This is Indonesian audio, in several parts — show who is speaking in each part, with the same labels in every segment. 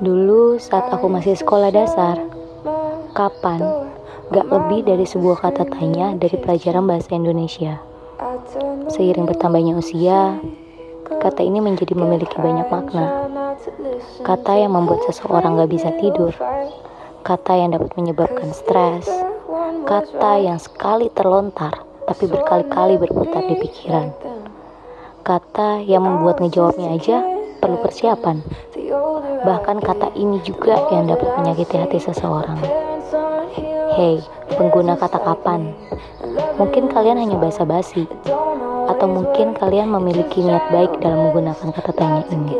Speaker 1: Dulu saat aku masih sekolah dasar, kapan gak lebih dari sebuah kata tanya dari pelajaran bahasa Indonesia. Seiring bertambahnya usia, kata ini menjadi memiliki banyak makna. Kata yang membuat seseorang gak bisa tidur, kata yang dapat menyebabkan stres, kata yang sekali terlontar tapi berkali-kali berputar di pikiran, kata yang membuat ngejawabnya aja perlu persiapan. Bahkan kata ini juga yang dapat menyakiti hati seseorang. Hey, pengguna kata kapan? Mungkin kalian hanya basa-basi, atau mungkin kalian memiliki niat baik dalam menggunakan kata tanya ini.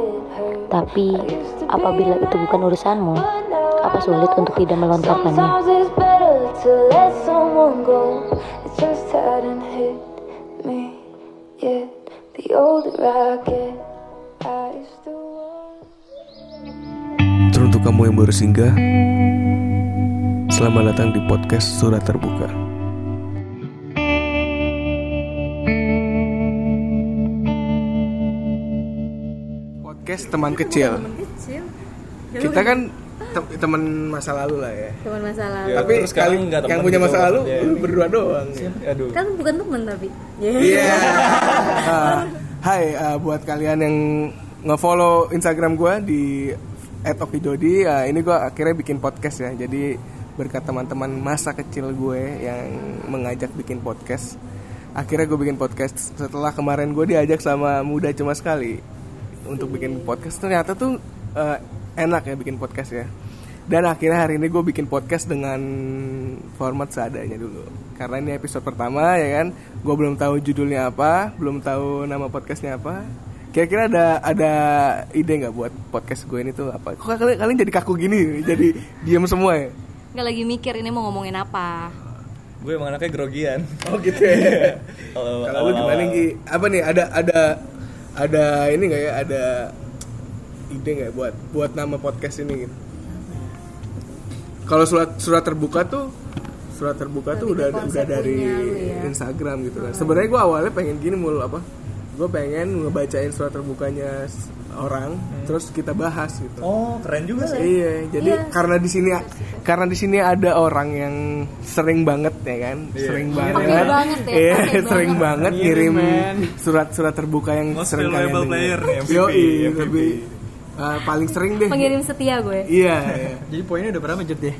Speaker 1: Tapi, apabila itu bukan urusanmu, apa sulit untuk tidak melontarkannya?
Speaker 2: Teruntuk kamu yang baru singgah, selamat datang di podcast Surat Terbuka. Podcast teman kecil.
Speaker 3: kecil
Speaker 2: Kita kan te- teman masa lalu lah ya.
Speaker 3: teman masa lalu
Speaker 4: Ya,
Speaker 2: Tapi
Speaker 4: terus sekarang
Speaker 2: kali-
Speaker 4: nggak teman
Speaker 2: yang punya
Speaker 4: gitu,
Speaker 2: masa lalu
Speaker 4: maksudnya.
Speaker 2: lu berdua doang. ya.
Speaker 4: Aduh.
Speaker 3: kan bukan teman tapi ya
Speaker 2: Iya. Ah, Hai ah, buat kalian yang ngefollow Instagram gue di @okidodi, ah, ini gue akhirnya bikin podcast ya. Jadi berkat teman-teman masa kecil gue yang mengajak bikin podcast. Akhirnya gue bikin podcast setelah kemarin gue diajak sama muda cuma sekali untuk bikin podcast. Ternyata tuh eh, enak ya bikin podcast ya. Dan akhirnya hari ini gue bikin podcast dengan format seadanya dulu Karena ini episode pertama ya kan Gue belum tahu judulnya apa Belum tahu nama podcastnya apa Kira-kira ada ada ide nggak buat podcast gue ini tuh apa? Kok kalian, kalian jadi kaku gini? Jadi diam semua ya?
Speaker 3: nggak lagi mikir ini mau ngomongin apa
Speaker 4: Gue emang anaknya grogian.
Speaker 2: Oh gitu ya
Speaker 4: Kalau
Speaker 2: Kalau lu gimana Gi? Apa nih ada ada ada ini nggak ya? Ada ide nggak buat buat nama podcast ini? Gitu? Kalau surat surat terbuka tuh surat terbuka tuh udah udah
Speaker 3: Lebih ke konsep
Speaker 2: dari
Speaker 3: punya lu ya.
Speaker 2: Instagram gitu kan. Sebenarnya gua awalnya pengen gini mulu apa? Gue pengen ngebacain surat terbukanya s- orang, terus kita bahas gitu.
Speaker 4: Oh, keren juga sih.
Speaker 2: Iya, jadi karena di sini karena di sini ada orang yang sering banget ya kan,
Speaker 4: Iya.
Speaker 2: sering banget,
Speaker 3: Aktif Iya, banget ya,
Speaker 2: Iya,
Speaker 3: aktif
Speaker 2: sering banget
Speaker 4: Ngirim,
Speaker 2: ngirim
Speaker 4: man.
Speaker 2: surat-surat terbuka yang
Speaker 4: Iya, Most
Speaker 2: sering kalian
Speaker 4: valuable
Speaker 2: dengar.
Speaker 4: player nih, MVP,
Speaker 2: Yoi,
Speaker 4: MVP.
Speaker 2: lebih eh, paling sering deh.
Speaker 3: pengirim setia gue
Speaker 2: Iya, iya.
Speaker 5: Jadi poinnya udah berapa jet deh?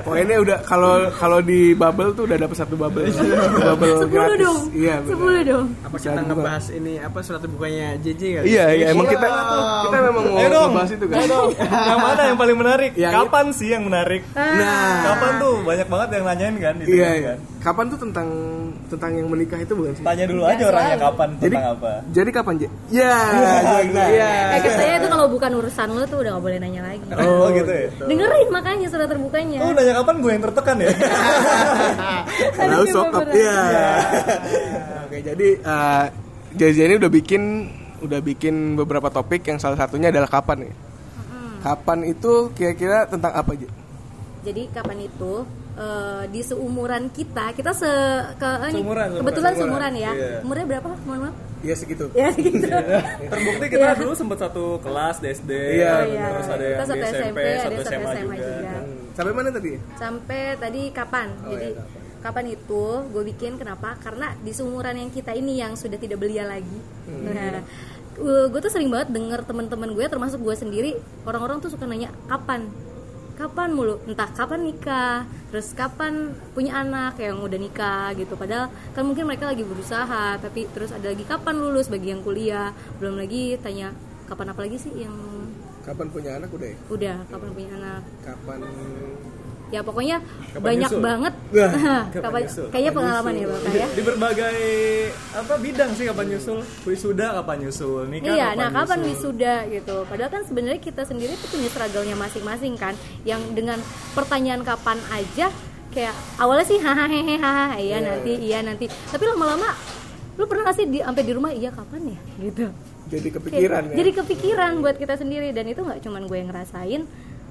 Speaker 2: Pokoknya udah kalau kalau di bubble tuh udah dapet satu bubble,
Speaker 5: Iya.
Speaker 2: satu bubble
Speaker 3: sepuluh
Speaker 2: gratis.
Speaker 3: dong
Speaker 2: Iya, benar.
Speaker 3: sepuluh dong
Speaker 5: Apa
Speaker 2: Bisa
Speaker 5: kita
Speaker 2: dibuka.
Speaker 5: ngebahas ini apa surat terbukanya JJ kali?
Speaker 2: Iya, iya, emang kita kita memang mau
Speaker 4: Ayo dong.
Speaker 2: bahas itu kan.
Speaker 4: yang mana yang paling menarik?
Speaker 2: Yang
Speaker 4: Kapan sih yang menarik?
Speaker 2: Nah,
Speaker 4: Kapan tuh banyak banget yang nanyain kan di
Speaker 2: Iya,
Speaker 4: Twitter
Speaker 2: iya.
Speaker 4: kan?
Speaker 2: Kapan tuh tentang tentang yang menikah itu bukan sih?
Speaker 4: Tanya dulu aja orangnya kapan
Speaker 2: Jadi
Speaker 4: tentang apa.
Speaker 2: Jadi kapan, Je? Ya. gua- Iya.
Speaker 3: eh katanya itu kalau bukan urusan lo tuh udah gak boleh nanya lagi
Speaker 4: Oh, gitu ya.
Speaker 3: dengerin makanya surat terbukanya
Speaker 4: Oh, nanya kapan gue yang tertekan ya?
Speaker 2: Lalu
Speaker 3: coba
Speaker 2: sokap
Speaker 3: berat.
Speaker 2: ya. Oke, jadi eh JJ ini udah bikin udah bikin beberapa topik yang salah satunya adalah kapan ya. Kapan itu kira-kira tentang apa aja?
Speaker 3: jadi kapan itu eh, di seumuran kita kita se ke, eh, nih,
Speaker 4: Seumuran, seumuran,
Speaker 3: kebetulan
Speaker 4: seumuran,
Speaker 3: seumuran ya
Speaker 4: iya.
Speaker 3: umurnya berapa mohon maaf
Speaker 2: Ya segitu.
Speaker 3: ya gitu
Speaker 4: Terbukti kita dulu sempat satu kelas di SD,
Speaker 2: Iya,
Speaker 3: Oh, iya.
Speaker 4: terus ada yang
Speaker 3: Kita
Speaker 4: di
Speaker 3: satu
Speaker 4: SMP,
Speaker 3: ada
Speaker 4: satu SMA, juga.
Speaker 2: Sampai mana tadi?
Speaker 3: sampai tadi kapan jadi kapan itu gue bikin kenapa karena di seumuran yang kita ini yang sudah tidak belia lagi nah gue tuh sering banget denger teman-teman gue termasuk gue sendiri orang-orang tuh suka nanya kapan kapan mulu entah kapan nikah terus kapan punya anak yang udah nikah gitu padahal kan mungkin mereka lagi berusaha tapi terus ada lagi kapan lulus bagi yang kuliah belum lagi tanya kapan apa lagi sih yang
Speaker 2: Kapan punya anak udah ya?
Speaker 3: udah kapan punya anak
Speaker 2: Kapan
Speaker 3: ya pokoknya
Speaker 4: Kapan
Speaker 3: banyak
Speaker 4: nyusul?
Speaker 3: banget
Speaker 2: Wah,
Speaker 3: Kapan-
Speaker 4: nyusul?
Speaker 3: kayaknya pengalaman ya bapak ya
Speaker 4: Di berbagai apa bidang sih kapan nyusul? Wisuda kapan nyusul? Nikah
Speaker 3: Iya, nah
Speaker 4: kan kapan
Speaker 3: kapan wisuda gitu. Padahal kan sebenarnya kita sendiri tuh punya struggle-nya masing-masing kan. Yang dengan pertanyaan kapan aja kayak awalnya sih hahaha hahaha iya nanti iya nanti. Tapi lama-lama lu pernah gak sih di, sampai di rumah iya kapan ya gitu.
Speaker 2: jadi
Speaker 3: Kayak-
Speaker 2: kepikiran ya?
Speaker 3: Jadi kepikiran buat kita sendiri dan itu nggak cuman gue yang ngerasain,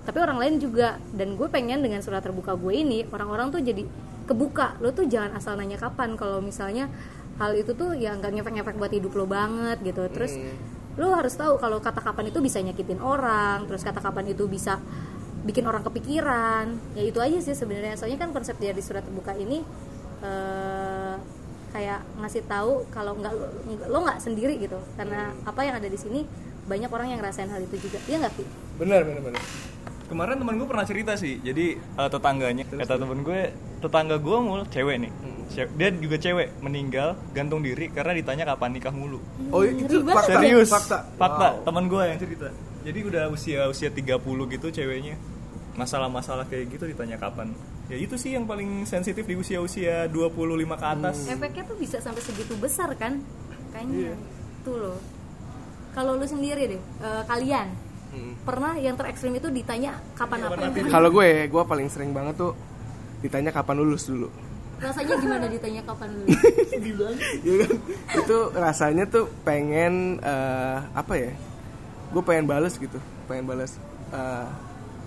Speaker 3: tapi orang lain juga. Dan gue pengen dengan surat terbuka gue ini orang-orang tuh jadi kebuka. Lo tuh jangan asal nanya kapan kalau misalnya hal itu tuh ya nggak ngefek-ngefek buat hidup lo banget gitu. Terus
Speaker 2: Hmm.
Speaker 3: lo harus tahu kalau kata kapan itu bisa nyakitin orang terus kata kapan itu bisa bikin orang kepikiran ya itu aja sih sebenarnya soalnya kan konsep dari surat terbuka ini eh, kayak ngasih tahu kalau nggak lo nggak sendiri gitu karena
Speaker 2: Hmm.
Speaker 3: apa yang ada di sini banyak orang yang ngerasain hal itu juga ya nggak Fi?
Speaker 2: benar benar benar
Speaker 4: Kemarin temen gue pernah cerita sih, jadi eh, tetangganya, kata temen gue, tetangga gue mul cewek nih, Ce- dia juga cewek, meninggal, gantung diri karena ditanya kapan nikah mulu.
Speaker 2: oh itu
Speaker 3: banget
Speaker 2: fakta
Speaker 4: Serius,
Speaker 2: fakta
Speaker 4: fakta temen gue yang cerita. Jadi udah usia usia 30 gitu ceweknya, masalah-masalah kayak gitu ditanya kapan. Ya itu sih yang paling sensitif di usia-usia 25 ke atas.
Speaker 2: Hmm.
Speaker 3: efeknya tuh bisa sampai segitu besar kan
Speaker 2: Iya.
Speaker 3: kayaknya tuh loh kalau lu sendiri deh eh, kalian
Speaker 2: Hmm.
Speaker 3: pernah yang terekstrim itu ditanya
Speaker 2: Iya,
Speaker 3: kapan apa yang
Speaker 2: kalau gue gue paling sering banget tuh ditanya kapan lulus dulu
Speaker 3: rasanya gimana ditanya kapan lu
Speaker 2: Iya kan? itu rasanya tuh pengen eh, apa ya gue pengen bales gitu pengen bales eh,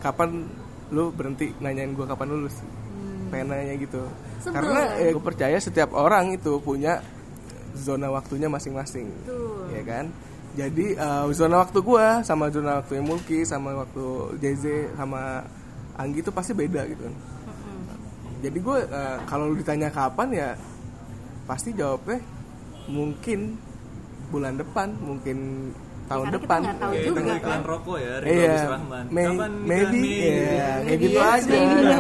Speaker 2: kapan lu berhenti nanyain gue kapan lulus pengen nanya gitu
Speaker 3: Hmm. Sebel
Speaker 2: karena
Speaker 3: kan?
Speaker 2: gue percaya setiap orang itu punya zona waktunya masing-masing
Speaker 3: Betul.
Speaker 2: ya kan jadi eh, zona waktu gue sama zona waktu Mulki sama waktu JZ sama Anggi itu pasti beda gitu kan
Speaker 3: Hmm.
Speaker 2: jadi gue eh, kalau lu ditanya kapan ya pasti jawabnya mungkin bulan depan mungkin tahun
Speaker 3: karena kita
Speaker 2: depan
Speaker 3: nggak tahu
Speaker 2: Iya,
Speaker 4: gitu
Speaker 3: juga
Speaker 2: nggak
Speaker 3: kan.
Speaker 2: tahu.
Speaker 4: rokok ya,
Speaker 2: Iya, may- maybe, iya, kayak gitu aja. Iya.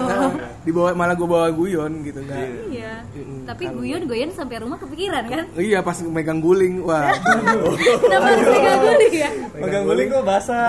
Speaker 2: Dibawa malah gue bawa guyon gitu kan.
Speaker 3: iya
Speaker 2: Mm-mm,
Speaker 3: tapi
Speaker 2: kalau-
Speaker 3: guyon guyon sampai rumah kepikiran kan
Speaker 2: Iya pas megang guling, wah.
Speaker 3: Iya. kenapa harus pegang guling ya
Speaker 4: Pegang guling kok basah.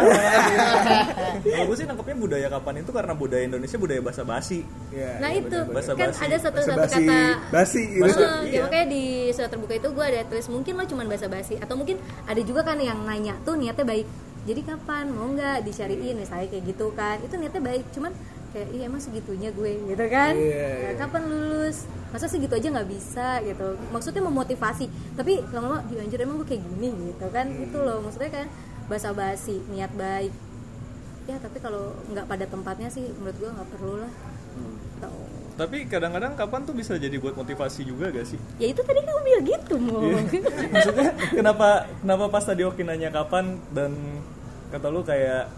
Speaker 4: Kalau gue sih nangkepnya budaya kapan itu karena budaya Indonesia budaya basa-basi.
Speaker 2: Iya,
Speaker 3: nah
Speaker 2: iya,
Speaker 3: itu
Speaker 2: bener-bener.
Speaker 3: kan
Speaker 4: Basa-basi.
Speaker 3: ada satu satu
Speaker 2: Basa-basi,
Speaker 3: kata
Speaker 2: basi gitu.
Speaker 3: Heeh, ya makanya di surat terbuka itu gue ada tulis mungkin lo cuman basa-basi atau mungkin ada juga kan yang nanya tuh niatnya baik jadi kapan mau
Speaker 2: Iya.
Speaker 3: nggak dicariin misalnya kayak gitu kan itu niatnya baik cuman kayak iya emang segitunya gue gitu kan
Speaker 2: Iya,
Speaker 3: Ya,
Speaker 2: iya.
Speaker 3: kapan lulus masa segitu aja nggak bisa gitu maksudnya memotivasi tapi lama-lama di anjir emang gue kayak gini gitu kan
Speaker 2: Iya.
Speaker 3: itu loh maksudnya kan basa-basi niat baik ya tapi kalau nggak pada tempatnya sih menurut gue nggak perlu lah
Speaker 2: Hmm.
Speaker 3: Tau.
Speaker 4: Tapi kadang-kadang kapan tuh bisa jadi buat motivasi juga gak sih?
Speaker 3: ya itu tadi kamu bilang gitu mau
Speaker 2: Iya.
Speaker 4: Maksudnya kenapa kenapa pas tadi Oki nanya kapan dan kata lu kayak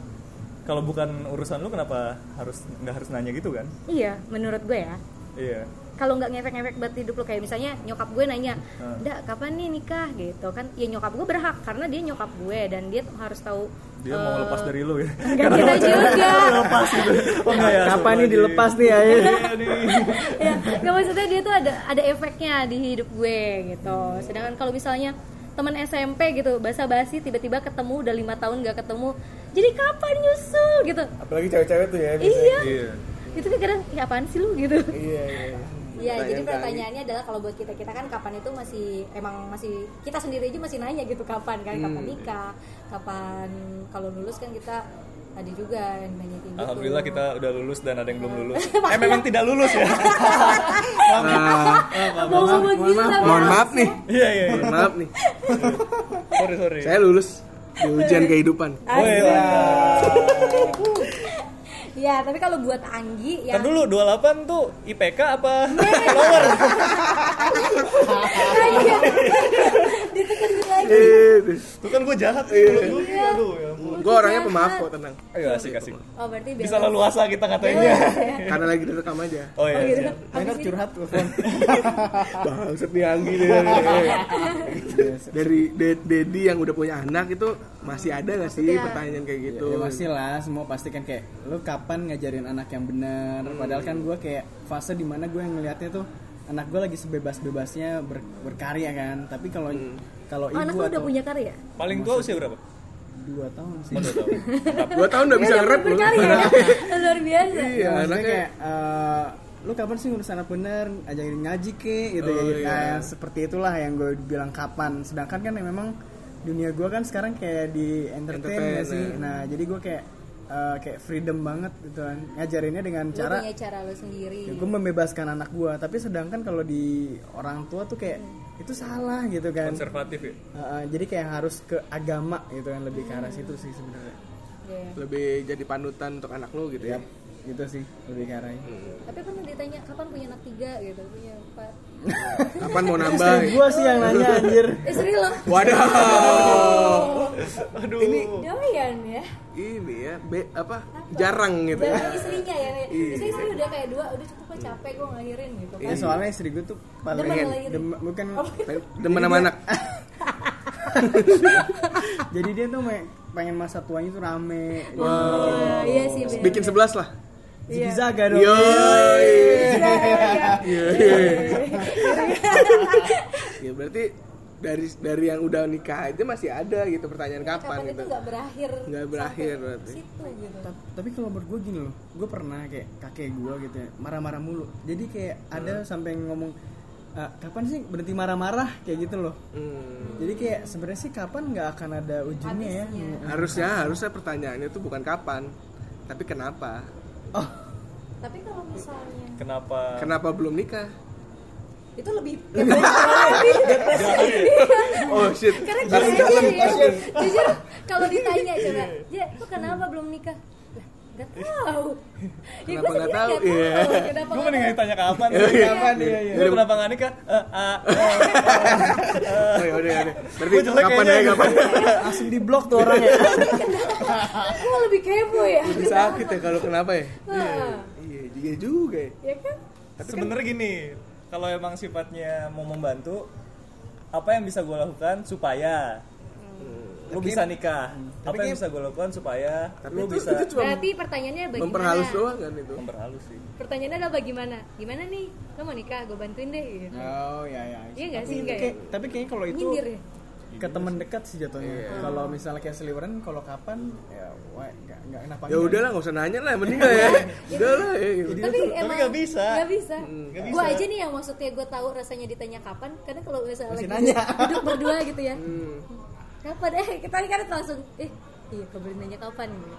Speaker 4: kalau bukan urusan lu kenapa harus nggak harus nanya gitu kan?
Speaker 3: Iya, menurut gue ya.
Speaker 4: Iya.
Speaker 3: Kalau nggak ngefek-ngefek buat hidup lo kayak misalnya nyokap gue nanya,
Speaker 4: Hmm.
Speaker 3: "Dak, kapan nih nikah?" gitu kan. Ya nyokap gue berhak karena dia nyokap gue dan dia tuh harus tahu
Speaker 4: Dia mau lepas dari lu ya.
Speaker 3: Enggak kita juga.
Speaker 4: lepas gitu. Oh enggak
Speaker 3: iya,
Speaker 4: ya.
Speaker 5: Kapan nih dilepas nih ya? ayo?
Speaker 4: Iya nih.
Speaker 3: ya, nggak maksudnya dia tuh ada ada efeknya di hidup gue gitu. Sedangkan kalau misalnya teman SMP gitu, basa-basi tiba-tiba ketemu udah lima tahun nggak ketemu. Jadi kapan nyusul gitu?
Speaker 2: Apalagi cewek-cewek tuh ya. biasanya.
Speaker 3: Iya. Itu kan kadang, ya apaan sih lu gitu.
Speaker 2: Iya, iya.
Speaker 3: Iya, jadi
Speaker 2: Pertanyaan tadi.
Speaker 3: pertanyaannya adalah kalau buat kita kita kan kapan itu masih emang masih kita sendiri aja masih nanya gitu kapan kan kapan nikah, kapan kalau lulus kan kita ada juga yang nanya kayak gitu.
Speaker 4: Alhamdulillah kita udah lulus dan ada yang belum lulus. eh memang tidak lulus ya. Nah.
Speaker 3: Bohong gitu tapi
Speaker 2: Mohon maaf nih.
Speaker 4: Iya iya. iya.
Speaker 2: Mohon maaf nih.
Speaker 4: Sorry sorry.
Speaker 2: Saya lulus di ujian
Speaker 3: Iya.
Speaker 2: kehidupan.
Speaker 4: Woi,
Speaker 3: ya tapi kalau buat
Speaker 2: Iya.
Speaker 3: Anggi ya,
Speaker 4: Ntar
Speaker 3: yang
Speaker 4: Kan dulu 28 tuh IPK apa lower?
Speaker 3: iya.
Speaker 2: Iya.
Speaker 4: Itu kan gue jahat Aduh, Aduh, ya ampun.
Speaker 2: Gue orangnya pemaaf kok, tenang.
Speaker 4: Ayo asik asik.
Speaker 2: Iya.
Speaker 3: oh berarti
Speaker 4: Bisa leluasa kita ngatainnya.
Speaker 2: Karena lagi direkam aja.
Speaker 4: Oh iya.
Speaker 2: gitu.
Speaker 4: siap.
Speaker 5: Enak curhat telepon.
Speaker 2: Bangsat nih Anggi deh. Dari De- Dedi yang udah punya anak itu masih ada gak sih pertanyaan kayak gitu?
Speaker 3: Iya,
Speaker 5: Ya pasti lah, semua pasti kan kayak lu kapan ngajarin anak yang benar. Padahal kan gue kayak fase dimana gue ngelihatnya tuih anak gue lagi sebebas-bebasnya ber- berkarya kan. Tapi kalau kalau
Speaker 3: anak
Speaker 5: ibu
Speaker 3: lu udah
Speaker 5: atau
Speaker 3: punya karya.
Speaker 4: Paling tua usia berapa?
Speaker 5: dua tahun sih.
Speaker 4: Oh, dua tahun.
Speaker 2: Dua tahun
Speaker 3: Iya,
Speaker 2: udah bisa nge-rap lu.
Speaker 3: Berkarya ya? luar biasa.
Speaker 2: Iya,
Speaker 5: maksudnya
Speaker 2: anaknya-
Speaker 5: kayak eh, lu kapan sih ngurus anak bener ajarin ngaji ke gitu
Speaker 2: Oh,
Speaker 5: ya
Speaker 2: iya.
Speaker 5: Nah, seperti itulah yang gue bilang kapan sedangkan kan ya memang dunia gue kan sekarang kayak di entertain ya
Speaker 2: Entertain,
Speaker 5: sih
Speaker 2: ya.
Speaker 5: nah jadi gue kayak eh, kayak freedom banget gitu kan ngajarinnya dengan
Speaker 3: Lu
Speaker 5: cara
Speaker 3: punya cara lu sendiri.
Speaker 5: gue membebaskan anak gue tapi sedangkan kalau di orang tua tuh kayak itu salah gitu kan
Speaker 4: Konservatif ya.
Speaker 5: Eh, eh, jadi kayak harus ke agama gitu kan lebih ke arah situ sih sebenarnya
Speaker 3: Iya.
Speaker 2: Lebih jadi panutan untuk anak lu gitu ya.
Speaker 5: gitu sih lebih ke arahnya
Speaker 3: Tapi pernah ditanya kapan punya anak tiga gitu, punya empat. Iya.
Speaker 2: Kapan mau nambah?
Speaker 5: gue sih yang nanya anjir
Speaker 3: Eh serius loh.
Speaker 2: Waduh.
Speaker 4: Aduh.
Speaker 3: Doyan ya.
Speaker 2: Ini ya, be, apa? Jarang gitu.
Speaker 3: Dan istrinya ya. Istri istri udah kayak dua, udah cukup lah capek gue ngelahirin gitu.
Speaker 5: ya, soalnya istri gue tuh paling
Speaker 3: Demen gitu. ngelahirin.
Speaker 5: dem- bukan
Speaker 2: Demen sama anak.
Speaker 3: Iya
Speaker 5: jadi dia tuh me- pengen masa tuanya tuh rame
Speaker 3: Iya, iya sih. bener.
Speaker 2: Bikin sebelas lah.
Speaker 3: Iya.
Speaker 5: zizaga dong Iya.
Speaker 2: Yoi.
Speaker 4: Iya,
Speaker 2: Iya, Ya berarti dari dari yang udah nikah aja masih ada gitu pertanyaan kapan,
Speaker 3: Kapan itu
Speaker 2: gitu.
Speaker 3: nggak berakhir?
Speaker 2: Nggak berakhir
Speaker 3: sampai
Speaker 2: berarti.
Speaker 3: Situ gitu.
Speaker 5: Ta- tapi kalau menurut gue gini loh gue pernah kayak kakek gue gitu ya, marah-marah mulu jadi kayak ada sampai ngomong "Ah, kapan sih berhenti marah-marah kayak gitu loh
Speaker 2: Hmm.
Speaker 5: jadi kayak sebenarnya sih kapan nggak akan ada ujungnya ya
Speaker 2: Harusnya harusnya pertanyaannya tuh bukan kapan, tapi kenapa?
Speaker 5: oh
Speaker 3: Tapi kalau misalnya
Speaker 4: Kenapa?
Speaker 2: Kenapa belum nikah?
Speaker 3: itu lebih lebih
Speaker 2: Oh shit.
Speaker 3: karena
Speaker 2: Harus
Speaker 3: gini
Speaker 2: dalam.
Speaker 3: aja ya, jujur kalau ditanya coba ya lu kenapa belum nikah Lah, Gak tahu. Ya
Speaker 2: Kenapa nggak
Speaker 3: gue sendiri nggak
Speaker 2: tahu?
Speaker 3: tahu.
Speaker 2: Iya.
Speaker 3: Kenapa
Speaker 4: Gue
Speaker 3: nggak
Speaker 4: mending
Speaker 3: tahu?
Speaker 4: ditanya kapan.
Speaker 2: Iya.
Speaker 4: Kapan?
Speaker 5: Iya, iya.
Speaker 4: Lu kenapa nggak nikah? Eh, ah, eh.
Speaker 2: Oh, ya udah, ya udah. Berarti
Speaker 4: Ah. Gua jelek
Speaker 2: kapan ya
Speaker 4: kayaknya.
Speaker 2: kapan?
Speaker 5: langsung di blok tuh orangnya
Speaker 3: Gue lebih kepo ya.
Speaker 2: Lebih sakit ya kalau kenapa ya?
Speaker 3: Nah,
Speaker 2: Iya, juga juga ya.
Speaker 3: ya kan?
Speaker 4: Sebenernya gini, kalau emang sifatnya mau membantu, apa yang bisa gue lakukan supaya lu
Speaker 5: Tapi-
Speaker 4: bisa nikah?
Speaker 5: Tapi
Speaker 4: Apa yang
Speaker 5: kayak-
Speaker 4: bisa gue lakukan supaya
Speaker 2: Tapi
Speaker 4: lu
Speaker 2: itu,
Speaker 4: bisa
Speaker 2: itu cuma
Speaker 3: Berarti Nah, pertanyaannya bagaimana?
Speaker 2: memperhalus doang kan itu.
Speaker 4: memperhalus sih?
Speaker 3: Pertanyaannya adalah bagaimana? Gimana nih? Lo mau nikah? Gue bantuin deh. Gitu.
Speaker 5: oh ya ya
Speaker 3: Iya nggak sih,
Speaker 5: Tapi-
Speaker 3: nggak ya?
Speaker 5: kayak- tapi kayaknya kalau itu
Speaker 3: Nyindir ya?
Speaker 2: Iya,
Speaker 5: ke teman dekat sih jatuhnya kalau misalnya kayak seliweran kalau kapan ya wah nggak nggak kenapa
Speaker 2: Ya udahlah nggak usah nanya lah, mending lah ya. Udahlah ya. gitu.
Speaker 3: Tapi
Speaker 4: Tapi
Speaker 3: emang
Speaker 4: nggak bisa.
Speaker 3: Gak bisa.
Speaker 4: nggak
Speaker 3: Gue
Speaker 4: bisa.
Speaker 3: aja nih yang maksudnya gue tahu rasanya ditanya kapan. Karena kalau misalnya
Speaker 5: Masih
Speaker 3: lagi
Speaker 5: nanya.
Speaker 3: duduk berdua gitu ya. Kapan? Eh, kita kan langsung. Eh, iya kabarin nanya kapan. gitu.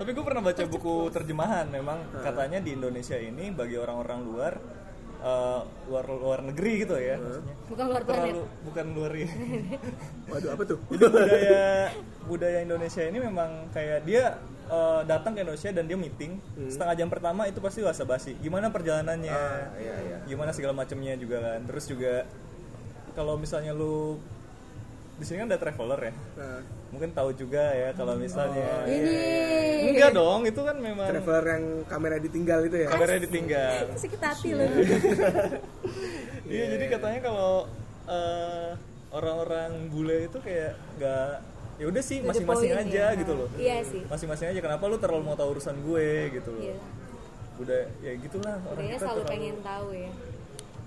Speaker 4: Tapi gue pernah baca buku terjemahan, memang katanya di Indonesia ini bagi orang-orang luar eh, luar luar negeri gitu ya maksudnya.
Speaker 3: Bukan luar planet.
Speaker 4: terlalu bukan luar ini
Speaker 2: Waduh, apa tuh?
Speaker 4: budaya budaya Indonesia ini memang kayak dia eh, datang ke Indonesia dan dia meeting setengah jam pertama itu pasti wasa basi gimana perjalanannya gimana segala macamnya juga kan terus juga kalau misalnya lu di sini kan ada traveler ya
Speaker 2: Nah,
Speaker 4: mungkin tahu juga ya kalau misalnya
Speaker 3: Ini.
Speaker 4: enggak dong itu kan memang
Speaker 2: traveler yang kamera ditinggal itu ya.
Speaker 4: kameranya ditinggal
Speaker 3: Sakit hati loh.
Speaker 4: Iya, jadi katanya kalau eh, orang-orang bule itu kayak nggak ya udah sih
Speaker 3: To the
Speaker 4: masing-masing
Speaker 3: point
Speaker 4: aja
Speaker 3: ya.
Speaker 4: gitu loh.
Speaker 3: Iya sih.
Speaker 4: Masing-masing aja kenapa lu terlalu mau tahu urusan gue gitu loh.
Speaker 3: Iya.
Speaker 4: Udah ya gitulah orang
Speaker 3: Kayaknya
Speaker 4: kita
Speaker 3: selalu
Speaker 4: terlalu-
Speaker 3: pengen tahu ya.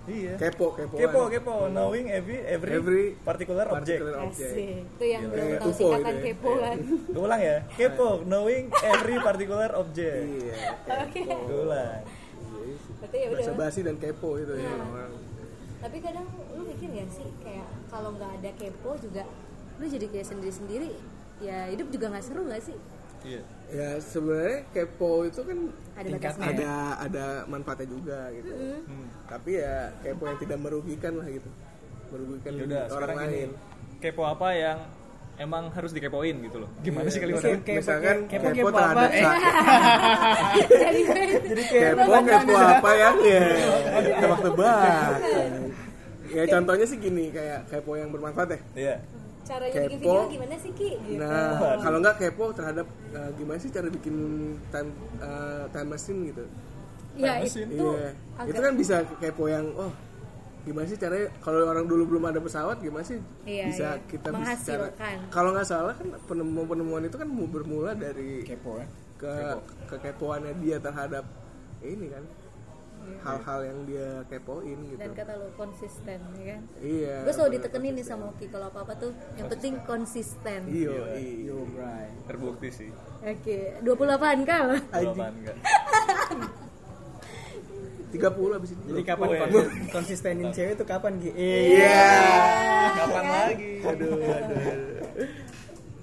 Speaker 4: Iya.
Speaker 2: Kepo, kepo.
Speaker 4: Kepo, kepo, knowing every every,
Speaker 2: Every
Speaker 4: particular object.
Speaker 2: Particular object.
Speaker 3: Asik. Itu yang belum
Speaker 2: Kayak
Speaker 3: tahu
Speaker 2: UFO
Speaker 3: singkatan
Speaker 2: gitu ya.
Speaker 3: kepo kan.
Speaker 4: Gue ulang ya. Kepo, knowing every particular object.
Speaker 2: Iya.
Speaker 3: Oke.
Speaker 4: Gue ulang.
Speaker 3: Berarti ya
Speaker 2: Bahasa
Speaker 3: udah.
Speaker 2: basi dan kepo itu ya. orang.
Speaker 3: tapi kadang lu mikir gak sih kayak kalau nggak ada kepo juga lu jadi kayak sendiri sendiri ya hidup juga nggak seru gak sih
Speaker 4: Iya.
Speaker 2: Ya sebenarnya kepo itu kan
Speaker 3: ada
Speaker 5: Tingkat
Speaker 3: batasnya
Speaker 2: ada ada manfaatnya juga gitu.
Speaker 4: Hmm.
Speaker 2: Tapi ya kepo yang tidak merugikan lah gitu. Merugikan
Speaker 4: Ya udah,
Speaker 2: orang
Speaker 4: sekarang gini.
Speaker 2: lain.
Speaker 4: Kepo apa yang emang harus dikepoin gitu loh. Gimana sih kalimatnya?
Speaker 5: Kepo- kepo-
Speaker 2: Misalkan
Speaker 5: kepo-
Speaker 2: kepo,
Speaker 5: kepo apa?
Speaker 2: terhadap
Speaker 5: Eh.
Speaker 2: sa-
Speaker 3: jadi jadi
Speaker 2: kepo kepo apa ya ya tebak tebak ya contohnya sih gini kayak kepo yang bermanfaat ya
Speaker 4: Iya.
Speaker 3: caranya bikin
Speaker 2: Kepo.
Speaker 3: video gimana sih ki gitu.
Speaker 2: nah kalau nggak kepo terhadap eh, gimana sih cara bikin time eh, time machine gitu
Speaker 3: ya
Speaker 4: Famous
Speaker 3: itu
Speaker 4: ini.
Speaker 2: iya
Speaker 3: agak-
Speaker 2: itu kan bisa kepo yang oh gimana sih caranya kalau orang dulu belum ada pesawat gimana sih
Speaker 3: Iya,
Speaker 2: bisa
Speaker 3: iya.
Speaker 2: kita bisa cara-
Speaker 3: Menghasilkan.
Speaker 2: kalau nggak salah kan penemuan penemuan itu kan mu- bermula dari
Speaker 5: kepo ya
Speaker 2: ke kekepoannya dia terhadap ini kan hal-hal yang dia kepoin gitu
Speaker 3: Iya. dan kata lu konsisten ya kan
Speaker 2: iya
Speaker 3: gue selalu ditekenin nih sama Ki kalau apa apa tuh yang penting konsisten
Speaker 2: iyo
Speaker 5: Iya, yo
Speaker 2: iyo
Speaker 5: Bray
Speaker 4: Terbukti sih.
Speaker 3: oke 28 kal
Speaker 4: Kalau apaan enggak.
Speaker 2: tiga puluh abis itu
Speaker 5: jadi kapan
Speaker 4: Weh.
Speaker 5: konsis- konsistenin cewek itu kapan Gi? Eh,
Speaker 2: iya
Speaker 4: Kapan lagi?
Speaker 2: aduh aduh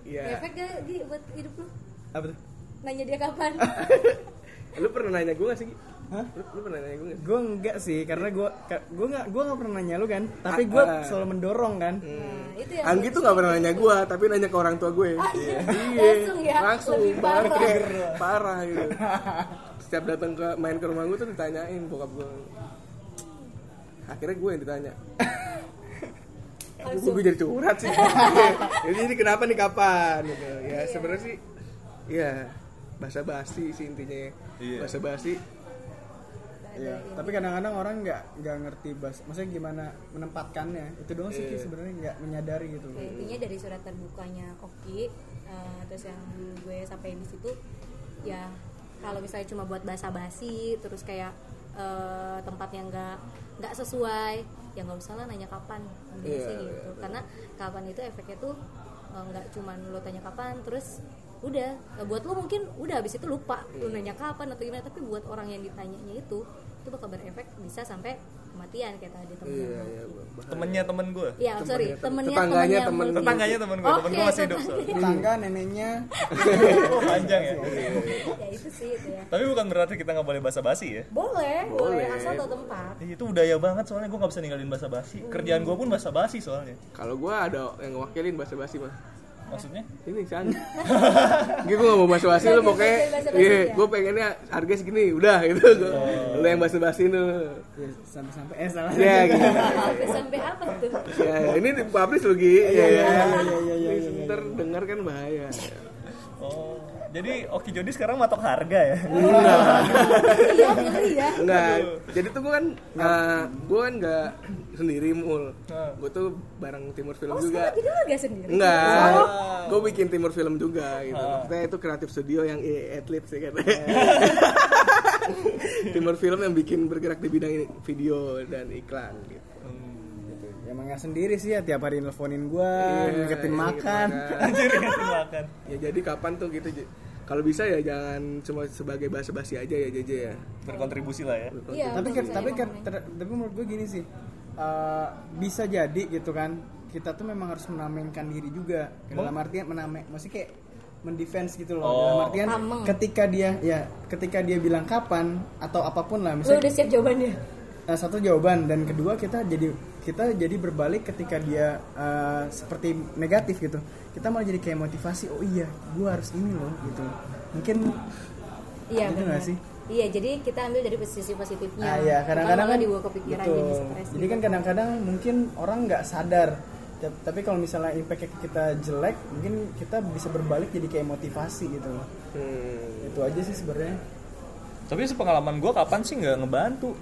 Speaker 2: iya
Speaker 3: efek gak Ki buat hidup lu
Speaker 5: apa tuh
Speaker 3: nanya dia kapan
Speaker 2: lu Eh, pernah nanya gue gak sih Gi?
Speaker 5: Hah?
Speaker 2: Lu, lu pernah nanya gue nggak sih?
Speaker 5: Gue enggak sih, karena gue gue nggak gue nggak pernah nanya lu kan, tapi gue
Speaker 2: Ah, Hmm. ah.
Speaker 5: selalu mendorong kan.
Speaker 3: Nah, itu yang
Speaker 2: Anggi tuh gak pernah nanya gue, tapi nanya ke orang tua gue. Iya.
Speaker 3: Langsung ya,
Speaker 2: Langsung.
Speaker 3: lebih parah.
Speaker 2: Parah, parah gitu. Setiap datang ke main ke rumah gue tuh ditanyain bokap gue. Akhirnya gue yang ditanya. Gue, gue jadi curhat sih. jadi ini kenapa nih kapan gitu.
Speaker 3: Iya.
Speaker 2: Ya sebenarnya sih ya bahasa basi sih intinya. ya.
Speaker 4: Iya.
Speaker 2: Bahasa basi.
Speaker 5: Iya. Tapi kadang-kadang orang nggak nggak ngerti bas, maksudnya gimana menempatkannya. Itu doang sih
Speaker 2: Iya.
Speaker 5: Ki, sebenarnya nggak menyadari gitu.
Speaker 3: Ya, intinya dari surat terbukanya Oki eh, terus yang dulu gue sampai di situ ya kalau misalnya cuma buat basa-basi terus kayak eh, tempat yang nggak nggak sesuai ya nggak usah lah nanya kapan Mending
Speaker 2: Iya,
Speaker 3: sih
Speaker 2: iya,
Speaker 3: gitu karena kapan itu efeknya tuh eh, nggak cuman lo tanya kapan terus udah Nah, buat lo mungkin udah habis itu lupa lo
Speaker 2: Iya.
Speaker 3: nanya kapan atau gimana tapi buat orang yang ditanyanya itu itu bakal berefek bisa sampai kematian kayak tadi temen
Speaker 2: Iya,
Speaker 3: yang-
Speaker 2: iya. gua-
Speaker 4: temennya temen gue
Speaker 3: Iya, sorry, temennya
Speaker 2: tetangganya
Speaker 3: temen
Speaker 2: temen-
Speaker 3: yang mulia.
Speaker 4: tetangganya temen gue temen
Speaker 3: Oke,
Speaker 4: gue masih hidup
Speaker 3: tetangganya.
Speaker 5: Tetangga neneknya
Speaker 4: oh, panjang ya
Speaker 3: ya itu sih itu ya.
Speaker 4: tapi bukan berarti kita nggak boleh basa basi ya
Speaker 3: Boleh, boleh,
Speaker 2: Boleh.
Speaker 3: asal tau tempat.
Speaker 4: Ih, itu budaya banget soalnya gue nggak bisa ninggalin basa basi kerjaan gue pun basa basi soalnya
Speaker 2: Kalau gue ada yang ngewakilin bahasa basi mah.
Speaker 4: maksudnya
Speaker 2: ini sana gitu gue gak mau basa basi lu
Speaker 3: Basa-basi,
Speaker 2: pokoknya
Speaker 3: basa-basi
Speaker 2: iya
Speaker 3: ya?
Speaker 2: gue pengennya harganya segini udah gitu Gua- lu yang basa basi lu
Speaker 5: Ya, sampai-sampai eh salah.
Speaker 2: ya gitu
Speaker 3: Sampai sampai apa tuh?
Speaker 2: ya ini di publish lu Gi ya ya
Speaker 5: iya, iya, iya,
Speaker 2: Ini ntar denger kan bahaya
Speaker 4: oh jadi Oki Jodi sekarang matok harga ya
Speaker 3: Iya, ngeri ya.
Speaker 2: enggak jadi tuh gue kan gue kan gak sendiri mul
Speaker 4: Ah.
Speaker 2: gue tuh bareng timur film
Speaker 3: Oh,
Speaker 2: juga
Speaker 3: sekarang jadi lo gak sendiri.
Speaker 2: Enggak, gue bikin timur film juga gitu. Maksudnya itu kreatif studio yang eh, atlet sih katanya. timur film yang bikin bergerak di bidang ini, video dan iklan gitu.
Speaker 5: Ya emang nggak sendiri sih ya tiap hari nelfonin gue, ngeketin
Speaker 2: Iya,
Speaker 5: makan.
Speaker 4: anjir ngasih makan
Speaker 2: Ya jadi kapan tuh gitu. Ji. Kalau bisa ya jangan cuma sebagai basa-basi aja ya JJ ya.
Speaker 4: berkontribusi lah ya
Speaker 3: Iya,
Speaker 5: tapi
Speaker 3: betul
Speaker 5: kan-
Speaker 3: sih,
Speaker 5: tapi kan-
Speaker 3: emang.
Speaker 5: ter- tapi menurut gue gini sih eh, bisa jadi gitu kan kita tuh memang harus menamenkan diri juga dalam artian mename masih kayak mendefense gitu loh dalam artian
Speaker 3: Tameng.
Speaker 5: ketika dia ya ketika dia bilang kapan atau apapun lah
Speaker 3: Lo
Speaker 5: misalnya
Speaker 3: udah siap jawabannya.
Speaker 5: Nah, satu jawaban dan kedua kita jadi kita jadi berbalik ketika dia eh, seperti negatif gitu kita malah jadi kayak motivasi oh iya gue harus ini loh gitu mungkin
Speaker 3: Iya,
Speaker 5: Gitu
Speaker 3: benar.
Speaker 5: nggak sih?
Speaker 3: Iya, jadi kita ambil dari sisi positifnya.
Speaker 5: Ah, iya, kadang-kadang
Speaker 3: Bukan
Speaker 5: kan
Speaker 3: malah dibawa kepikiran
Speaker 5: betul.
Speaker 3: jadi stres. gitu.
Speaker 5: Jadi kan kadang-kadang mungkin orang nggak sadar. Ta- Tapi kalau misalnya impact kita jelek, mungkin kita bisa berbalik jadi kayak motivasi gitu loh.
Speaker 2: Hmm.
Speaker 5: Itu aja sih sebenarnya.
Speaker 4: tapi sepengalaman gue kapan sih nggak ngebantu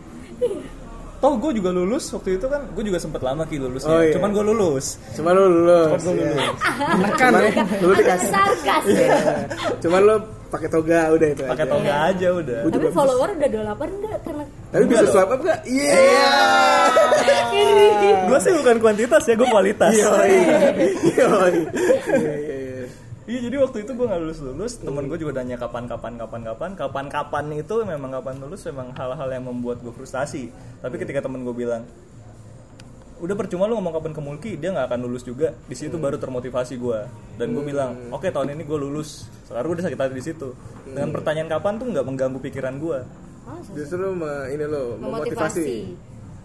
Speaker 4: toh gue juga lulus waktu itu kan gue juga sempet lama ki lulusnya
Speaker 2: Oh, iya.
Speaker 4: cuman gue lulus
Speaker 2: Cuma lu lulus.
Speaker 4: Cuman gua
Speaker 2: ya.
Speaker 4: lulus.
Speaker 5: Menekan
Speaker 2: Cuman
Speaker 5: ya.
Speaker 2: lu
Speaker 3: Agak
Speaker 2: dikasih.
Speaker 3: sarkas.
Speaker 2: Iya. Cuman lu pakai toga udah itu
Speaker 4: pakai
Speaker 2: aja.
Speaker 4: toga aja udah
Speaker 2: Gua
Speaker 3: Tapi
Speaker 2: juga-
Speaker 3: follower udah 28 enggak karena
Speaker 2: Tapi bisa swap up enggak? Iya.
Speaker 4: gue sih bukan kuantitas ya gue kualitas
Speaker 2: Iya,
Speaker 3: Oh, iya.
Speaker 2: Yoi. Iya iya iya.
Speaker 4: Iya jadi waktu itu gue nggak lulus lulus temen gue juga nanya kapan kapan kapan kapan kapan kapan itu memang kapan lulus memang hal-hal yang membuat gue frustasi tapi
Speaker 2: Iya.
Speaker 4: ketika temen gue bilang udah percuma lu ngomong kapan ke Mulki dia nggak akan lulus juga di situ
Speaker 2: Iya.
Speaker 4: baru termotivasi gue dan gue bilang oke tahun ini gue lulus sekarang gue udah sakit hati di situ dengan
Speaker 2: Iya.
Speaker 4: pertanyaan kapan tuh nggak mengganggu pikiran gue
Speaker 3: Oh,
Speaker 2: Justru me- ini lo memotivasi.
Speaker 3: memotivasi.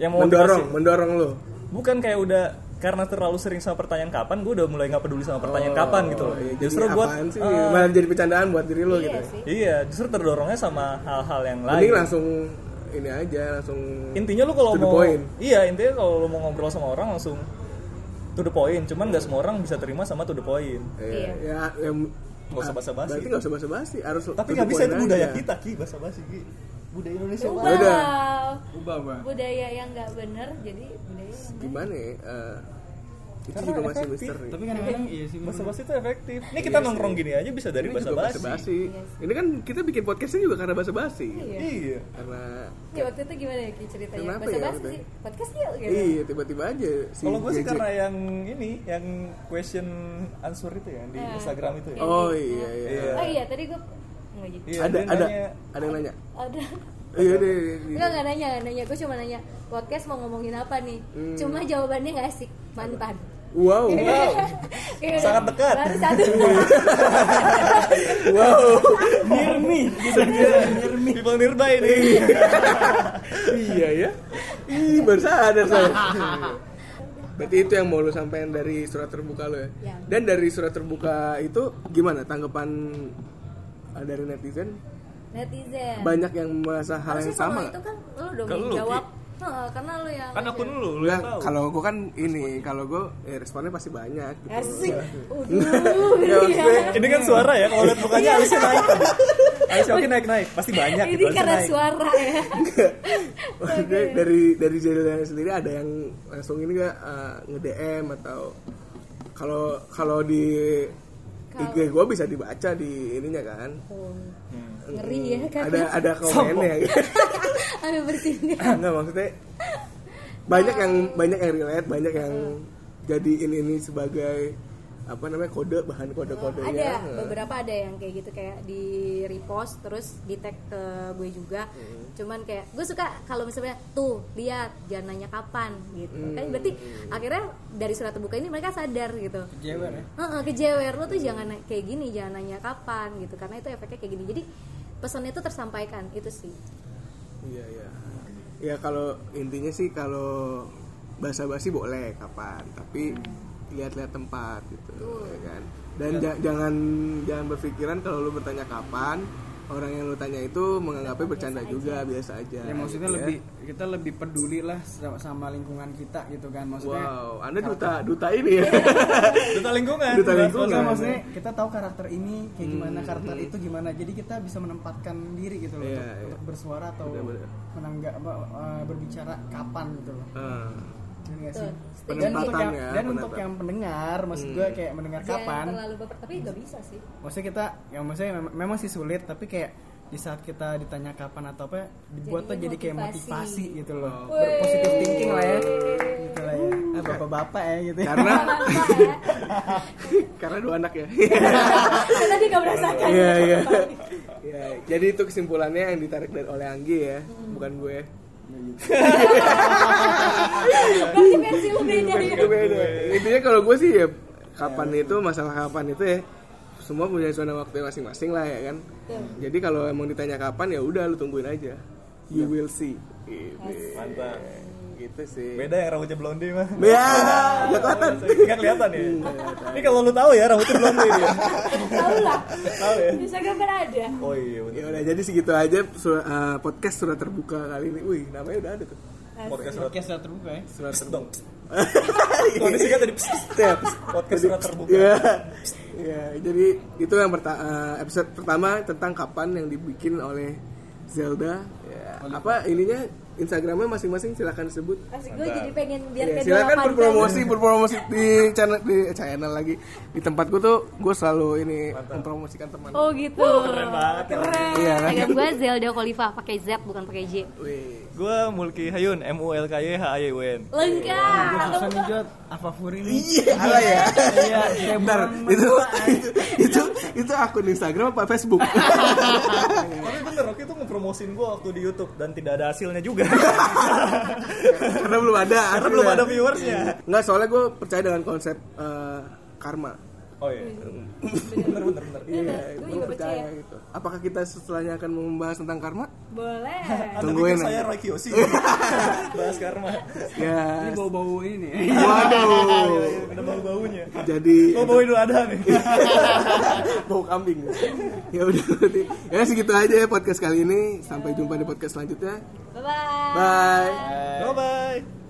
Speaker 4: yang mau
Speaker 2: mendorong mendorong lo
Speaker 4: bukan kayak udah karena terlalu sering sama pertanyaan kapan gue udah mulai nggak peduli sama pertanyaan kapan gitu loh
Speaker 2: Iya, jadi
Speaker 4: justru buat
Speaker 2: apaan sih
Speaker 4: Ah.
Speaker 2: malah jadi bercandaan buat diri lo gitu
Speaker 3: Iya
Speaker 2: ya.
Speaker 3: sih.
Speaker 4: Iya, justru terdorongnya sama hal-hal yang lain.
Speaker 2: mending langsung ini aja langsung
Speaker 4: Intinya lu kalau
Speaker 2: To the
Speaker 4: mau
Speaker 2: point.
Speaker 4: Iya, intinya kalau lu mau ngobrol sama orang langsung to the point. Cuman nggak semua orang bisa terima sama to the point.
Speaker 3: Iya.
Speaker 2: ya, ya, ya
Speaker 4: Nggak usah basa-basi.
Speaker 2: berarti nggak usah basa-basi harus
Speaker 4: Tapi
Speaker 2: to the
Speaker 4: nggak bisa
Speaker 2: point
Speaker 4: itu
Speaker 2: aja.
Speaker 4: budaya kita ki bahasa basi ki. Budaya Indonesia.
Speaker 3: Wow.
Speaker 2: Ya Udah.
Speaker 5: Ubah, ubah.
Speaker 3: Budaya yang nggak bener jadi budaya yang
Speaker 2: gimana ya eh, itu juga masih ya. misteri
Speaker 5: Tapi kadang-kadang iya sih.
Speaker 4: Bahasa basi itu efektif. Ini kita nongkrong gini aja bisa dari
Speaker 2: Ini
Speaker 4: bahasa
Speaker 2: juga
Speaker 4: basi.
Speaker 2: basa-basi. ini kan kita bikin podcastnya juga karena basa-basi
Speaker 3: Iya.
Speaker 4: Iya.
Speaker 2: karena
Speaker 3: Ya waktu itu gimana ya Ki ceritanya?
Speaker 2: Kenapa
Speaker 3: Bahasa
Speaker 2: ya,
Speaker 3: basi
Speaker 2: Bang?
Speaker 3: sih. Podcast yuk gitu.
Speaker 2: iya tiba-tiba aja si
Speaker 4: Kalau gue sih
Speaker 2: JJ.
Speaker 4: karena yang ini, yang question answer itu ya di Instagram itu ya.
Speaker 2: oh iya iya
Speaker 3: Oh iya, tadi gue nggak gitu. jadi.
Speaker 4: Iya,
Speaker 2: ada
Speaker 4: dia
Speaker 2: ada
Speaker 4: nanya,
Speaker 2: ada yang nanya
Speaker 3: Ada.
Speaker 2: iya deh
Speaker 3: Enggak enggak nanya, nggak nanya. Gue cuma nanya podcast mau ngomongin apa nih. Cuma jawabannya nggak asik. Mantan.
Speaker 2: Hmm. wow
Speaker 3: Kayak
Speaker 4: Sangat
Speaker 3: udah,
Speaker 4: dekat.
Speaker 3: Baru satu.
Speaker 2: wow
Speaker 4: Near me.
Speaker 5: nih gitu
Speaker 4: People nearby nih.
Speaker 2: iya ya ih baru sadar saya berarti itu yang mau lu sampaikan dari surat terbuka lo ya?
Speaker 3: Ya.
Speaker 2: dan dari surat terbuka itu gimana tanggapan uh, dari netizen
Speaker 3: netizen
Speaker 2: banyak yang merasa hal
Speaker 3: Harusnya
Speaker 2: yang Iya. sama
Speaker 3: kalau itu kan lu dong
Speaker 4: Kalau
Speaker 3: yang
Speaker 4: lu,
Speaker 3: jawab Heeh, karena lu yang
Speaker 4: Kan akun lu, lu
Speaker 2: Nggak,
Speaker 4: yang tahu.
Speaker 2: kalau gue kan ini kalau gue eh, responnya pasti banyak gitu.
Speaker 3: asik
Speaker 2: Ya,
Speaker 3: udah
Speaker 2: maksudnya,
Speaker 4: Iya, Ini kan suara ya, kalau lihat mukanya alisnya naik. Alisnya oke naik-naik, pasti
Speaker 2: Iya,
Speaker 4: banyak
Speaker 3: Iya. ini
Speaker 4: gitu alisnya
Speaker 3: karena
Speaker 4: naik.
Speaker 3: suara ya
Speaker 2: maksudnya dari dari jadinya sendiri ada yang langsung ini nggak eh, nge DM atau kalau kalau di
Speaker 3: Kalau-
Speaker 2: IG gue bisa dibaca di ininya kan Hmm.
Speaker 3: Oh, ngeri ya kan
Speaker 2: ada ada komennya gitu.
Speaker 3: ada bertindak
Speaker 2: nggak maksudnya banyak yang banyak yang relate banyak yang
Speaker 3: Hmm.
Speaker 2: jadiin ini sebagai apa namanya kode bahan kode kodenya
Speaker 3: ada beberapa ada yang kayak gitu kayak di repost terus di tag ke gue juga
Speaker 2: Mm-hmm.
Speaker 3: cuman kayak gue suka kalau misalnya tuh lihat jangan nanya kapan gitu kan
Speaker 2: Mm-hmm.
Speaker 3: berarti akhirnya dari surat terbuka ini mereka sadar gitu
Speaker 5: jewer ya
Speaker 3: Heeh, kejewer lo tuh jangan na- kayak gini jangan nanya kapan gitu karena itu efeknya kayak gini jadi pesannya itu tersampaikan itu sih
Speaker 2: iya iya ya kalau intinya sih kalau bahasa basi boleh kapan tapi lihat-lihat tempat gitu ya kan dan ja- jangan jangan berpikiran kalau lu bertanya kapan orang yang lu tanya itu menganggapnya bercanda juga biasa aja
Speaker 5: ya maksudnya
Speaker 2: gitu ya.
Speaker 5: lebih kita lebih peduli lah sama- sama lingkungan kita gitu kan maksudnya
Speaker 2: wow anda duta duta ini ya
Speaker 4: Duta lingkungan.
Speaker 2: Duta lingkungan. ya. Hmm,
Speaker 4: Bahas
Speaker 5: Iya, Maksudnya,
Speaker 4: bahasa.
Speaker 5: maksudnya kita tahu karakter ini kayak gimana, karakter itu gimana. Jadi kita bisa menempatkan diri gitu loh
Speaker 2: Iya,
Speaker 5: untuk,
Speaker 2: iya.
Speaker 5: untuk bersuara atau
Speaker 2: Benar-benar.
Speaker 5: menangga apa, eh, berbicara kapan gitu loh.
Speaker 2: Ah,
Speaker 5: Bener nggak Iya sih?
Speaker 3: Betul.
Speaker 5: Dan untuk
Speaker 2: Penempatan
Speaker 5: yang,
Speaker 2: ya,
Speaker 5: dan untuk
Speaker 2: penempatan. Hmm.
Speaker 5: yang pendengar, maksud gue kayak mendengar
Speaker 3: Iya,
Speaker 5: kapan?
Speaker 3: jangan terlalu baper tapi gak bisa sih
Speaker 5: Maksudnya kita yang maksudnya mem- memang sih sulit, tapi kayak di saat kita ditanya kapan atau apa dibuat tuh
Speaker 3: Jadinya
Speaker 5: jadi kayak
Speaker 3: motivasi.
Speaker 5: motivasi gitu loh.
Speaker 3: Wey.
Speaker 5: Berpositif thinking lah ya. Gitu lah ya. Ah, bapak-bapak ya gitu. ya.
Speaker 2: karena
Speaker 3: Apa ya?
Speaker 2: karena dua anak ya
Speaker 3: Kan tadi gak merasakan
Speaker 2: Iya iya. Iya, Jadi itu kesimpulannya yang ditarik dari oleh Anggi ya, bukan gue.
Speaker 3: berarti
Speaker 2: Iya.
Speaker 3: versi lu beda ya
Speaker 2: Gue beda. Intinya kalau gue sih ya kapan itu masalah kapan itu ya semua punya zona waktu masing-masing lah ya kan. Jadi kalau emang ditanya kapan ya udah lu tungguin aja. You will see. Gitu.
Speaker 4: Mantap.
Speaker 2: Gitu sih.
Speaker 4: Beda yang rambutnya blonde mah.
Speaker 2: Ya, nggak kelihatan.
Speaker 4: Enggak kelihatan ya. Ini kalau lu tahu ya rambutnya blonde dia.
Speaker 3: tahu lah
Speaker 4: Tahu ya.
Speaker 3: Instagram kan ada
Speaker 4: Oh iya
Speaker 2: Ya
Speaker 4: betul.
Speaker 2: udah jadi segitu aja sur- eh, podcast surat terbuka kali ini. Wih, namanya udah ada tuh.
Speaker 4: Podcast surat
Speaker 5: Podcast sudah terbuka ya.
Speaker 2: Surat
Speaker 4: Psst
Speaker 2: terbuka.
Speaker 4: dong. Kalau disingkat tadi psst.
Speaker 2: Tips.
Speaker 4: podcast surat terbuka.
Speaker 2: Iya. Iya, jadi itu yang perta- eh, episode pertama tentang kapan yang dibikin oleh Zelda. Ya, apa ininya Instagramnya masing-masing silakan disebut.
Speaker 3: Asik gue jadi pengen biar
Speaker 2: Ya,
Speaker 3: kedua
Speaker 2: silakan
Speaker 3: pantai.
Speaker 2: berpromosi, berpromosi di channel di eh, channel lagi. Di tempatku tuh gue selalu ini mempromosikan teman.
Speaker 3: Oh gitu.
Speaker 4: Keren banget.
Speaker 2: Iya, kan?
Speaker 3: Instagram gue Zelda Khalifa pakai Z bukan pakai J.
Speaker 2: Wih.
Speaker 4: Gue Mulki Hayun M U L K Y H A Y U N.
Speaker 3: Lengkap.
Speaker 5: Susah nih Jod, apa Furi nih?
Speaker 2: Iya, ala ya.
Speaker 5: Iya, kayak
Speaker 2: Bentar,
Speaker 5: buang
Speaker 2: itu, itu itu itu akun Instagram apa Facebook?
Speaker 4: Tapi bener Rocky tuh ngepromosin gue waktu di YouTube dan tidak ada hasilnya juga.
Speaker 2: Karena belum ada.
Speaker 4: Karena belum ada
Speaker 2: akhirnya.
Speaker 4: viewersnya.
Speaker 2: Nggak, soalnya gue percaya dengan konsep eh, karma.
Speaker 4: Oh iya. Bener bener bener.
Speaker 2: Iya,
Speaker 3: Gua
Speaker 2: gue
Speaker 3: juga
Speaker 2: percaya
Speaker 3: percaya.
Speaker 2: gitu. Apakah kita setelahnya akan membahas tentang karma?
Speaker 3: Boleh.
Speaker 4: Anda
Speaker 2: Tungguin
Speaker 4: pikir saya
Speaker 2: aja.
Speaker 4: Roy Kiyoshi Bahas karma.
Speaker 5: Ini
Speaker 2: Ya.
Speaker 5: bau-bau ini. nih.
Speaker 2: Waduh.
Speaker 4: Ada bau-baunya.
Speaker 2: Jadi
Speaker 4: Gue bauin dulu ada nih.
Speaker 2: Iya. bau kambing. ya udah berarti. Ya segitu aja ya podcast kali ini. Sampai jumpa di podcast selanjutnya.
Speaker 3: Bye bye.
Speaker 2: Bye.
Speaker 4: Bye bye.